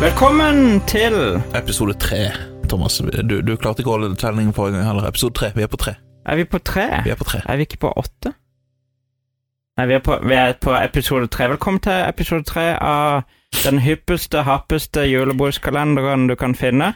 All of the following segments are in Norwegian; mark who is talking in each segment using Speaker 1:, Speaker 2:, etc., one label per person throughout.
Speaker 1: Velkommen til
Speaker 2: Episode tre, Thomas. Du, du klarte ikke å holde tellingen forrige gang heller. Episode tre. Vi er på tre.
Speaker 1: Er vi på tre?
Speaker 2: Vi er på tre.
Speaker 1: Er vi ikke på åtte? Nei, vi er på, vi er på episode tre. Velkommen til episode tre av den hyppeste, happeste julebordskalenderen du kan finne.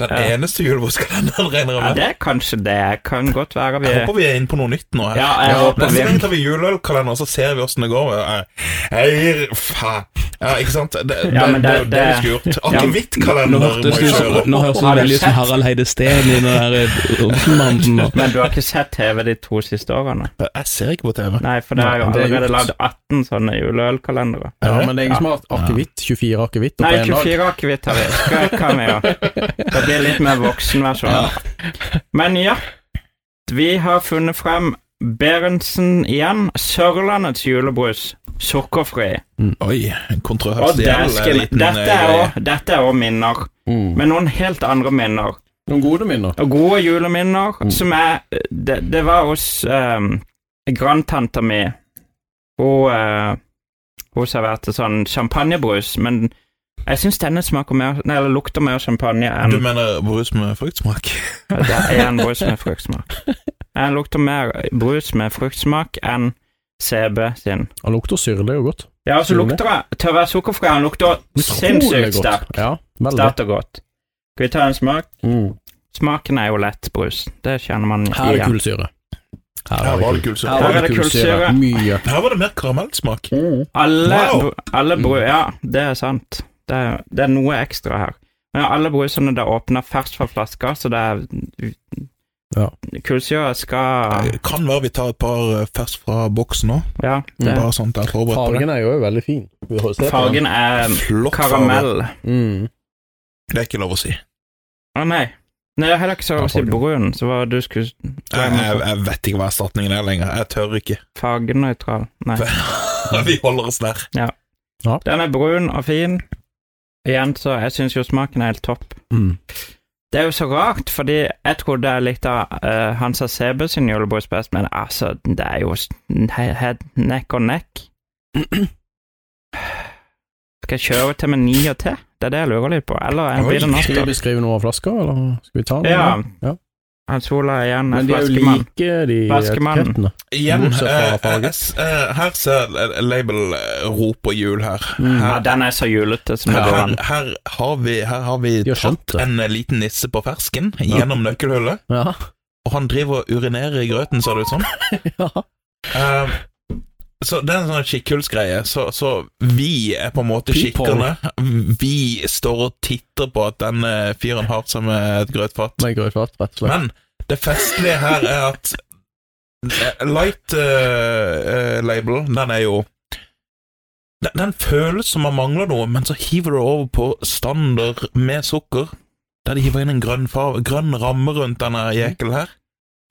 Speaker 2: Den
Speaker 1: Ja.
Speaker 2: eneste julebordskalenderen regner
Speaker 1: Ja,
Speaker 2: jeg med.
Speaker 1: det er kanskje det. Kan godt være vi
Speaker 2: Jeg håper vi er inne på noe nytt nå. her.
Speaker 1: Ja, jeg håper
Speaker 2: Neste
Speaker 1: vi-
Speaker 2: gang tar vi juleølkalender, så ser vi åssen det går. Jeg- jeg- jeg- faen. Ja, ikke sant? Det, det,
Speaker 1: Ja, men
Speaker 2: det,
Speaker 1: det-
Speaker 2: det, det vi
Speaker 1: det-
Speaker 2: skulle gjort.
Speaker 1: Ja.
Speaker 2: Akevittkalender
Speaker 3: Nå
Speaker 2: må
Speaker 3: hørtes det
Speaker 2: jeg
Speaker 3: ut
Speaker 2: kjøre.
Speaker 3: som- nå høres det
Speaker 1: Har du
Speaker 3: veldig ut som
Speaker 1: sett?
Speaker 3: Harald Heide Steen i den der eh, Olsenbanden. nå.
Speaker 1: Men du har ikke sett TV de to siste årene?
Speaker 2: Jeg ser ikke på TV.
Speaker 1: Nei, for det er jo
Speaker 3: Nei, det er
Speaker 1: allerede
Speaker 3: gjort.
Speaker 1: lagd 18 sånne juleølkalendere.
Speaker 3: Ja, men det er ingen som har hatt akevitt. 24 akevitt på
Speaker 1: Nei,
Speaker 3: en dag.
Speaker 1: 24 akevitt har vi. Det kan vi jo. Det blir litt mer voksenversjon. Men ja, vi har funnet frem Berentsen igjen. Sørlandets julebrus. Sukkerfri.
Speaker 2: Oi,
Speaker 1: Og
Speaker 2: kontroversiell eh,
Speaker 1: dæsken.
Speaker 2: liten
Speaker 1: Dette
Speaker 2: eh,
Speaker 1: er
Speaker 2: greie.
Speaker 1: også- Dette er òg minner,
Speaker 3: Mm.
Speaker 1: men noen helt andre minner.
Speaker 3: Noen gode minner.
Speaker 1: Og gode juleminner som er Det, det var hos um, grandtanta mi. Hun, eh, hun serverte sånn champagnebrus, men jeg syns denne smaker mer, nei, eller lukter mer champagne enn
Speaker 2: Du mener brus med fruktsmak?
Speaker 1: Det er en brus med fruktsmak. Den lukter mer brus med fruktsmak enn CB sin.
Speaker 3: Han lukter syrlig og godt.
Speaker 1: Ja, og så lukter det tørre sukkerfri. Den lukter
Speaker 3: Utrolig
Speaker 1: sinnssykt
Speaker 3: godt.
Speaker 1: sterk.
Speaker 3: Ja, veldig.
Speaker 1: Sterkt og godt. Skal vi ta en smak?
Speaker 3: Mm.
Speaker 1: Smaken er jo lett brus. Det kjenner man
Speaker 3: Her er det
Speaker 1: igjen.
Speaker 3: kullsyre.
Speaker 2: Her var det kulsyre.
Speaker 1: Her er det Mm. kullsyre.
Speaker 3: Mye.
Speaker 2: Her var det mer karamellsmak.
Speaker 1: Alle,
Speaker 2: Wow.
Speaker 1: bru- alle brus Ja, det er sant. Det er, det er noe ekstra her. Men alle brusene det åpner ferskt fra flaska, så det er
Speaker 3: Ja.
Speaker 1: Kullsyre skal
Speaker 2: Det Eh, Kan være vi tar et par eh, ferskt fra boksen nå.
Speaker 1: Ja. Det,
Speaker 2: Bare sånn at jeg er forberedt på det.
Speaker 3: Fargen er jo veldig fin. Vi får se på den.
Speaker 1: fargen er
Speaker 2: Flott farge.
Speaker 1: karamell.
Speaker 3: Mm.
Speaker 2: Det er ikke lov å si.
Speaker 1: Å nei. Nei, jeg heller ikke så
Speaker 3: Ja,
Speaker 1: å si
Speaker 3: fargen.
Speaker 1: brun, så var du skulle
Speaker 2: Jeg, jeg, jeg vet ikke hva erstatningen er lenger. Jeg tør ikke.
Speaker 1: fargenøytral. Nei.
Speaker 2: Vi holder oss der.
Speaker 1: Den er brun og fin. Igjen, så jeg syns jo smaken er helt topp.
Speaker 3: Mm.
Speaker 1: Det er jo så rart, fordi jeg trodde jeg likte uh, Hansa CB sin julebrus best, men altså, det er jo s- he- he- neck og neck. Skal jeg kjøre til med ni og te? Det er det jeg lurer litt på. Eller en
Speaker 2: Oi.
Speaker 1: blir det
Speaker 3: Skal vi
Speaker 1: natta?
Speaker 3: beskrive noe av flaska, eller skal vi ta den?
Speaker 1: Ja.
Speaker 3: eller? Ja.
Speaker 1: Han Sola er igjen
Speaker 3: Men
Speaker 1: en
Speaker 3: de er jo
Speaker 1: flaskemann.
Speaker 3: like, de
Speaker 1: Flaskemannen.
Speaker 3: etikettene.
Speaker 2: Igjen,
Speaker 3: Motsatt
Speaker 2: eh,
Speaker 3: fra fargen.
Speaker 2: eh, s- eh, her ser eh, label eh, rop og hjul her.
Speaker 3: Mm.
Speaker 1: Ja,
Speaker 2: Her,
Speaker 1: den er så julete som det går
Speaker 2: her, her,
Speaker 1: an.
Speaker 2: her har vi, her har vi
Speaker 3: De har skjønt
Speaker 2: tatt
Speaker 3: det.
Speaker 2: en eh, liten nisse på fersken gjennom nøkkelhullet,
Speaker 3: Ja.
Speaker 2: og han driver og urinerer i grøten, ser det ut som.
Speaker 3: ja.
Speaker 2: Eh, så det er en sånn skikkhullsgreie. Så, så vi er på en måte
Speaker 3: People.
Speaker 2: skikkerne. Vi står og titter på at den eh, fyren har seg med et grøtfat.
Speaker 3: Med grøyfat, rett og slett.
Speaker 2: Men det festlige her er at eh, Light eh, eh, Label, den er jo den, den føles som man mangler noe, men så hiver du over på standard med sukker. Der de hiver inn en grønn, farve, grønn ramme rundt denne jekelen her.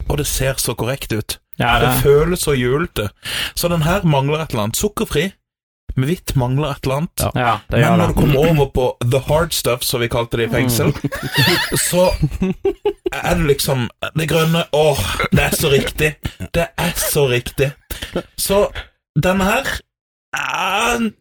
Speaker 2: Og det ser så korrekt ut.
Speaker 1: Ja,
Speaker 2: Det føles så julete. Så den her mangler et eller annet. Sukkerfri med hvitt mangler et eller annet.
Speaker 3: Ja.
Speaker 1: Ja, det
Speaker 2: Men
Speaker 1: gjør
Speaker 2: når
Speaker 1: det.
Speaker 2: du kom over på the hard stuff, som vi kalte det i fengsel,
Speaker 1: Mm.
Speaker 2: så er det liksom Det grønne Åh, det er så riktig! Det er så riktig! Så denne her eh,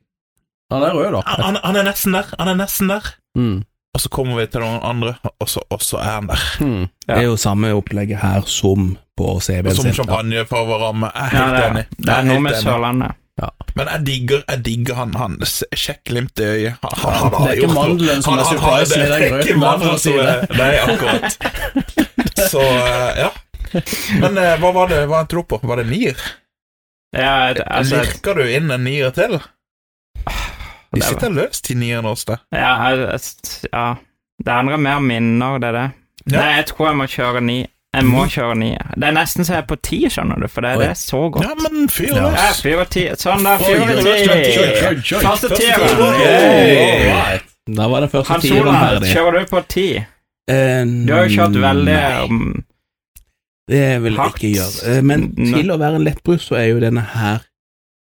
Speaker 3: Han er rød, da.
Speaker 2: han, han er nesten der. Han er nesten der.
Speaker 3: Mm.
Speaker 2: Og så kommer vi til noen andre, og så, og så er han der.
Speaker 3: Mm.
Speaker 1: Ja.
Speaker 4: Det er jo samme opplegget her som på CB-en
Speaker 2: Som
Speaker 4: sin.
Speaker 2: champagnefarveramme. Jeg er
Speaker 1: Ja,
Speaker 2: helt
Speaker 1: det,
Speaker 2: enig.
Speaker 1: er, det
Speaker 2: Jeg
Speaker 1: er
Speaker 2: er
Speaker 1: noe
Speaker 2: helt
Speaker 1: med
Speaker 2: enig.
Speaker 1: Sørlandet.
Speaker 2: Men jeg digger, jeg digger han, han. S- Sjekk glimt i øyet. Han, han, han
Speaker 3: Det er ikke mandelen som er surprise i den
Speaker 2: Det er
Speaker 3: grøten,
Speaker 2: ikke
Speaker 3: da, for å
Speaker 2: mandelen
Speaker 3: si
Speaker 2: som
Speaker 3: det.
Speaker 2: er Nei, akkurat. Så eh, ja. Men eh, hva var det hva endte du opp på? Var det nier?
Speaker 1: Ja, det, altså,
Speaker 2: Lirker du inn en nier til? De
Speaker 1: det, er-
Speaker 2: sitter løst, de nierne hos deg.
Speaker 1: ja, jeg- ja. Det andre er mer minner, det er det.
Speaker 2: Ja.
Speaker 1: Nei, jeg tror jeg må kjøre ni. Jeg må kjøre ni. Det er nesten så jeg er på ti, skjønner du, for det,
Speaker 3: Oi.
Speaker 1: det er så godt.
Speaker 2: Ja, men fyr løs.
Speaker 1: Ja, fire og ti. Sånn, da. Fire
Speaker 2: Oi,
Speaker 1: og
Speaker 2: det er
Speaker 1: ti.
Speaker 2: kjørt,
Speaker 1: Første
Speaker 2: Første
Speaker 1: tieren.
Speaker 2: tieren.
Speaker 1: Yay.
Speaker 3: Alright.
Speaker 4: Da var den første
Speaker 1: Hans
Speaker 4: tieren
Speaker 1: Olav,
Speaker 4: ferdig.
Speaker 1: kjører du på ti?
Speaker 4: Eh,
Speaker 1: Du har jo kjørt veldig
Speaker 4: Nei,
Speaker 1: um,
Speaker 4: det vil jeg
Speaker 1: hardt.
Speaker 4: ikke gjøre. Eh, Men
Speaker 1: Nei.
Speaker 4: til å være en lettbrus, så er jo denne her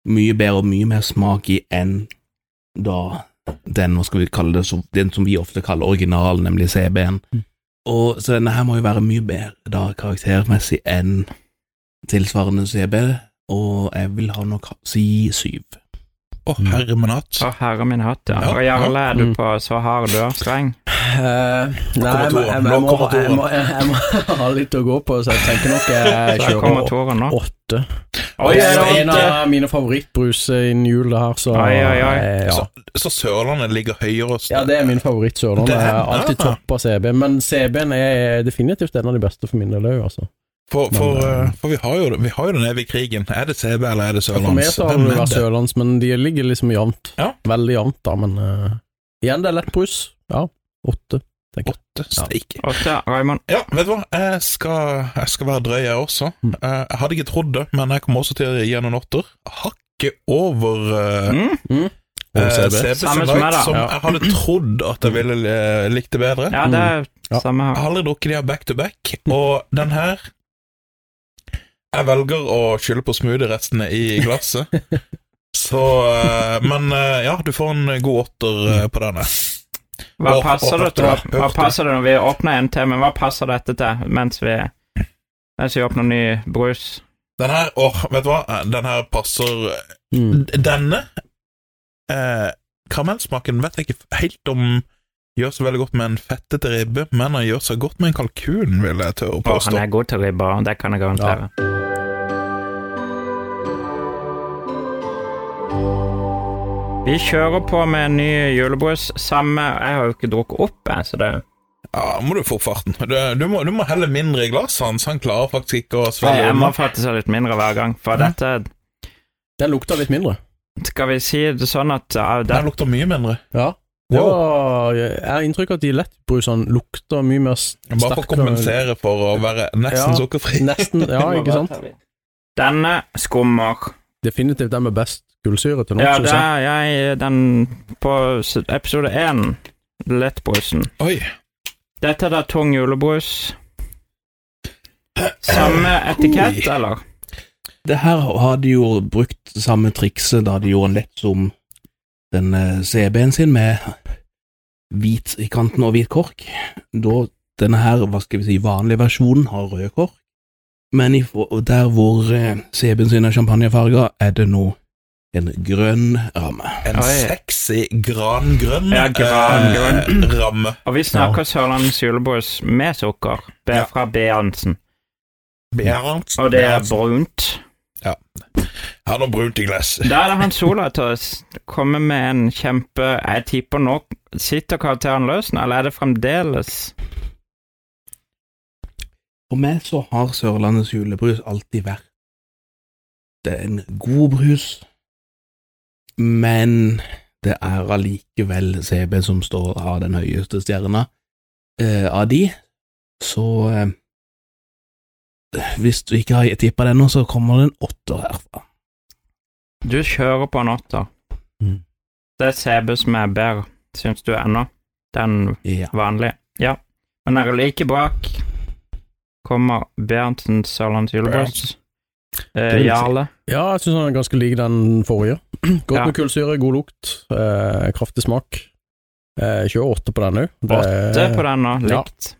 Speaker 4: mye bedre og mye mer smak i enn da den, hva skal vi kalle det, som- den som vi ofte kaller originalen, nemlig CB-en. Og, så denne her må jo være mye bedre da karaktermessig enn tilsvarende CB, og jeg vil ha nok ha- si syv.
Speaker 2: Å, herre min hatt.
Speaker 1: Å, herre min hatt, ja.
Speaker 2: Ja,
Speaker 1: Og Jarle, er du
Speaker 3: Mm.
Speaker 1: på så hard du er streng?
Speaker 3: Eh, nei, jeg, må- jeg, jeg,
Speaker 2: Nå
Speaker 3: må,
Speaker 2: kommer
Speaker 3: jeg, må, jeg, jeg må ha litt å gå på, så jeg tenker nok jeg
Speaker 1: Der kommer
Speaker 3: kjører
Speaker 1: Toren nå.
Speaker 3: åtte.
Speaker 1: Oi,
Speaker 3: det
Speaker 1: er
Speaker 3: er
Speaker 1: det
Speaker 3: jo en
Speaker 1: åtte?
Speaker 3: av mine favorittbruser innen jul, det her, så
Speaker 1: Oi, oi, oi.
Speaker 3: eh, Ja.
Speaker 2: Så, så Sørlandet ligger høyere.
Speaker 3: ja, det er min favoritt Sørlandet.
Speaker 2: Det er-
Speaker 3: Jeg har alltid
Speaker 2: Ah.
Speaker 3: toppa CB, men CB-en er definitivt en av de beste for min del òg, altså.
Speaker 2: For, for,
Speaker 3: Men,
Speaker 2: eh, for vi har jo det- vi har jo den evige krigen. Er det CB eller er det
Speaker 3: For meg
Speaker 2: Sørlands?
Speaker 3: så har
Speaker 2: Hvem
Speaker 3: det
Speaker 2: er
Speaker 3: vært
Speaker 2: det?
Speaker 3: Sørlands, men de ligger liksom jevnt.
Speaker 2: Ja.
Speaker 3: Veldig jevnt, da, men eh, igjen, det er lett brus. Ja, åtte.
Speaker 2: Åtte steike.
Speaker 1: Åtte, Raymond.
Speaker 2: Ja, vet du hva, jeg skal, jeg skal være drøy, jeg også.
Speaker 3: Mm.
Speaker 2: Eh, Jeg hadde ikke trodd det, men jeg kommer også til å gi en åtter. Hakket over eh,
Speaker 1: Mm?
Speaker 2: eh,
Speaker 3: CB.
Speaker 2: CB
Speaker 1: Samme
Speaker 2: sin
Speaker 1: som meg,
Speaker 2: Light,
Speaker 1: da.
Speaker 2: som
Speaker 3: Ja.
Speaker 2: jeg hadde trodd at jeg ville eh, likt det bedre.
Speaker 1: Ja, det er
Speaker 3: Ja.
Speaker 1: samme
Speaker 2: Jeg
Speaker 1: her.
Speaker 2: har aldri drukket de her back to back, og den her Jeg velger å skylle på smoothie-restene i glasset. Så eh, Men eh, ja, du får en god åtter eh, på denne.
Speaker 1: Hva
Speaker 2: Åh,
Speaker 1: passer
Speaker 2: åh,
Speaker 1: det til?
Speaker 2: hørte det,
Speaker 1: Hva
Speaker 2: hørte
Speaker 1: passer det når vi åpner en til, men hva passer dette til mens vi mens vi åpner ny brus?
Speaker 2: Den her, åh, vet du hva? Den her passer
Speaker 3: Mm.
Speaker 2: Denne eh, karamellsmaken vet jeg ikke helt om gjør så veldig godt med en fettete ribbe, men han gjør seg godt med en kalkun, vil jeg tørre å
Speaker 1: Å, han
Speaker 2: påstå.
Speaker 1: er god til ribber, det kan jeg garantere. Vi kjører på med en ny julebrus. Samme Jeg har jo ikke drukket opp, jeg, så det
Speaker 2: Ja, må du få opp farten. Du, du, må, du må helle mindre i glasset hans, han klarer faktisk ikke å
Speaker 1: Jeg,
Speaker 2: svelge.
Speaker 1: jeg må faktisk ha litt mindre hver gang, for
Speaker 2: Ja.
Speaker 1: dette
Speaker 3: Den lukta litt mindre.
Speaker 1: Skal vi si det sånn at ja, det,
Speaker 2: Den lukter mye mindre.
Speaker 3: Ja. Det var, jeg har inntrykk av at de lettbrusene lukter mye mer s- sterkt.
Speaker 2: Bare for å kompensere for å være nesten
Speaker 3: Ja.
Speaker 2: sukkerfri.
Speaker 3: Nesten, ja, ikke sant?
Speaker 1: Denne skummer.
Speaker 3: Definitivt den med best kullsyre til nå.
Speaker 1: Ja,
Speaker 3: synes
Speaker 1: det
Speaker 3: jeg.
Speaker 1: er jeg den på s- episode én, lettbrusen.
Speaker 2: Oi.
Speaker 1: Dette er da tung julebrus. Samme etikett,
Speaker 2: Oi.
Speaker 1: eller?
Speaker 4: Det her har de jo brukt samme trikset da de gjorde den lett som den eh, CB-en sin med hvit i kanten og hvit kork. Da denne her, hva skal vi si, vanlige versjonen har rød kork, men i, for- og der hvor eh, CB-en sin er champagnefarga, er det nå en grønn ramme.
Speaker 2: En
Speaker 1: Oi.
Speaker 2: sexy grangrønn
Speaker 1: Ja, grangrønn.
Speaker 2: eh, ramme.
Speaker 1: Og vi snakker Sørlandets julebrus med sukker. Det er
Speaker 2: Ja.
Speaker 1: fra B. Arntzen.
Speaker 2: Bjernst.
Speaker 1: Og det er brunt.
Speaker 2: Han har brunt i glasset.
Speaker 1: Der er det han Sola til å s- komme med en kjempe Jeg tipper nå Sitter karakteren løs nå, eller er det fremdeles
Speaker 4: For meg så har Sørlandets julebrus alltid vært Det er en god brus, men det er allikevel CB som står har den høyeste stjerna eh, av de, så eh, Hvis du ikke har tippa den nå, så kommer det en åtter herfra.
Speaker 1: Du kjører på en åtter.
Speaker 4: Mm.
Speaker 1: Det er CB som er bedre, syns du ennå. Den
Speaker 4: Ja.
Speaker 1: vanlige. Ja. Men er det like brak, kommer Berntsen Sørlands julebrus. Eh, Jarle.
Speaker 3: ja, jeg syns den er ganske lik den forrige. Godt
Speaker 1: Ja.
Speaker 3: med kullsyre, god lukt, eh, kraftig smak. Eh, kjører åtte på den òg.
Speaker 1: Åtte på den nå,
Speaker 3: ja.
Speaker 1: likt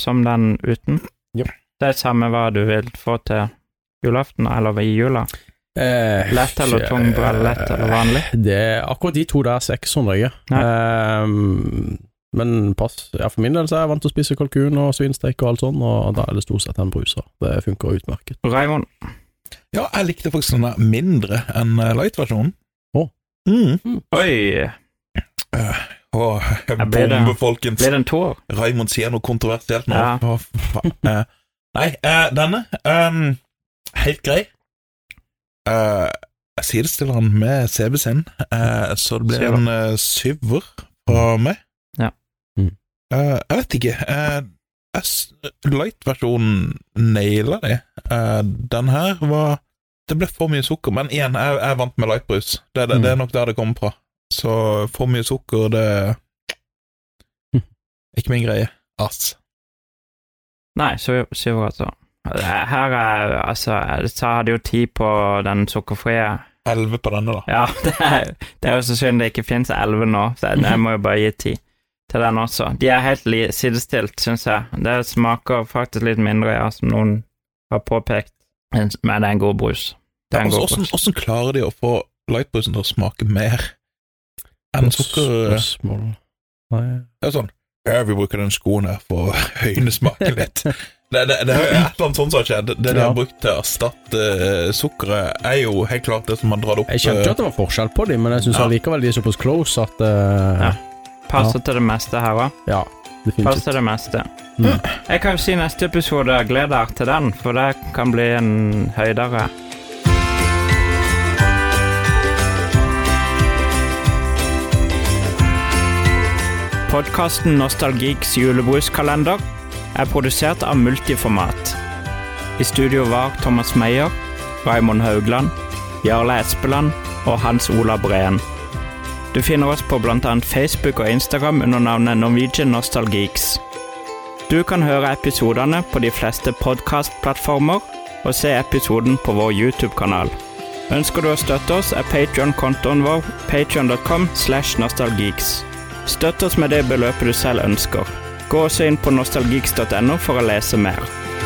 Speaker 1: som den uten.
Speaker 3: Ja.
Speaker 1: Det er samme hva du vil få til julaften eller i jula.
Speaker 3: Eh,
Speaker 1: Lett eller tung, bra, lett eller vanlig.
Speaker 3: Det er akkurat de to der 600 jeg.
Speaker 1: Nei.
Speaker 3: Ehm, men pass. Ja, for min del så er jeg vant til å spise kalkun og svinstek og alt sånt, og da er det stort sett en bruser. Det funker utmerket.
Speaker 1: Raymond,
Speaker 2: Ja, jeg likte faktisk den der mindre enn eh, light-versjonen.
Speaker 3: Å.
Speaker 2: Mm.
Speaker 1: oi,
Speaker 2: Og jeg
Speaker 1: blir det-
Speaker 2: bomber, folkens.
Speaker 1: blir det en toer?
Speaker 2: Raymond sier noe kontroversielt nå.
Speaker 1: Ja.
Speaker 2: Hva faen? Eh, Nei, eh, denne ehm, Helt grei. Eh, jeg sidestiller han med CB sin, eh, så det blir
Speaker 1: Syver.
Speaker 2: en eh, syver fra meg.
Speaker 1: Ja.
Speaker 3: Mm.
Speaker 2: Eh, jeg vet ikke. eh, jeg s- Light-versjonen naila det. Eh, den her var Det ble for mye sukker, men igjen, jeg, jeg er vant med lightbrus. Det, det, det er nok der det kommer fra. Så for mye sukker, det Ikke min greie. Ass.
Speaker 1: Nei, så syver altså. Her er altså Jeg sa jeg hadde jo ti på den sukkerfrie.
Speaker 2: Elleve på denne, da.
Speaker 1: Ja, det er, det er jo så synd det ikke fins elleve nå, så jeg, jeg må jo bare gi ti til den også. De er helt li sidestilt, syns jeg. Det smaker faktisk litt mindre, ja, som noen har påpekt, men men det er en god brus. Det er en
Speaker 2: Altså,
Speaker 1: god
Speaker 2: Hvordan,
Speaker 1: brus.
Speaker 2: hvordan klarer de å få lightbrusen til å smake mer enn sukker... eh?
Speaker 3: Spørsmål Nei
Speaker 2: Det er sånn Ja, vi bruker den skoen her for å høyne smaken litt. Det, det, det er jo et eller annet sånt som har skjedd. Det de
Speaker 3: Ja.
Speaker 2: har brukt til å erstatte eh, sukkeret, er jo helt klart det som har dratt opp eh,
Speaker 3: Jeg skjønte jo at det var forskjell på dem, men jeg syns
Speaker 2: Ja.
Speaker 3: allikevel de er såpass close at eh,
Speaker 1: Passer til det meste her òg.
Speaker 3: Ja.
Speaker 1: Passer
Speaker 3: Definitivt.
Speaker 1: til det meste.
Speaker 3: Mm.
Speaker 1: Jeg kan jo si neste episode gleder dere til den, for det kan bli en høydere. Podkasten Nostalgiks julebruskalender er produsert av Multiformat. I studio var Thomas Meyer, Raymond Haugland, Jarle Espeland og Hans Olav Breen. Du finner oss på bl.a. Facebook og Instagram under navnet Norwegian Nostalgeeks. Du kan høre episodene på de fleste podkastplattformer og se episoden på vår YouTube-kanal. Ønsker du å støtte oss, er Patreon-kontoen vår patreon.com slash nostalgeeks. Støtt oss med det beløpet du selv ønsker. Gå også inn på nostalgeeks.no for å lese mer.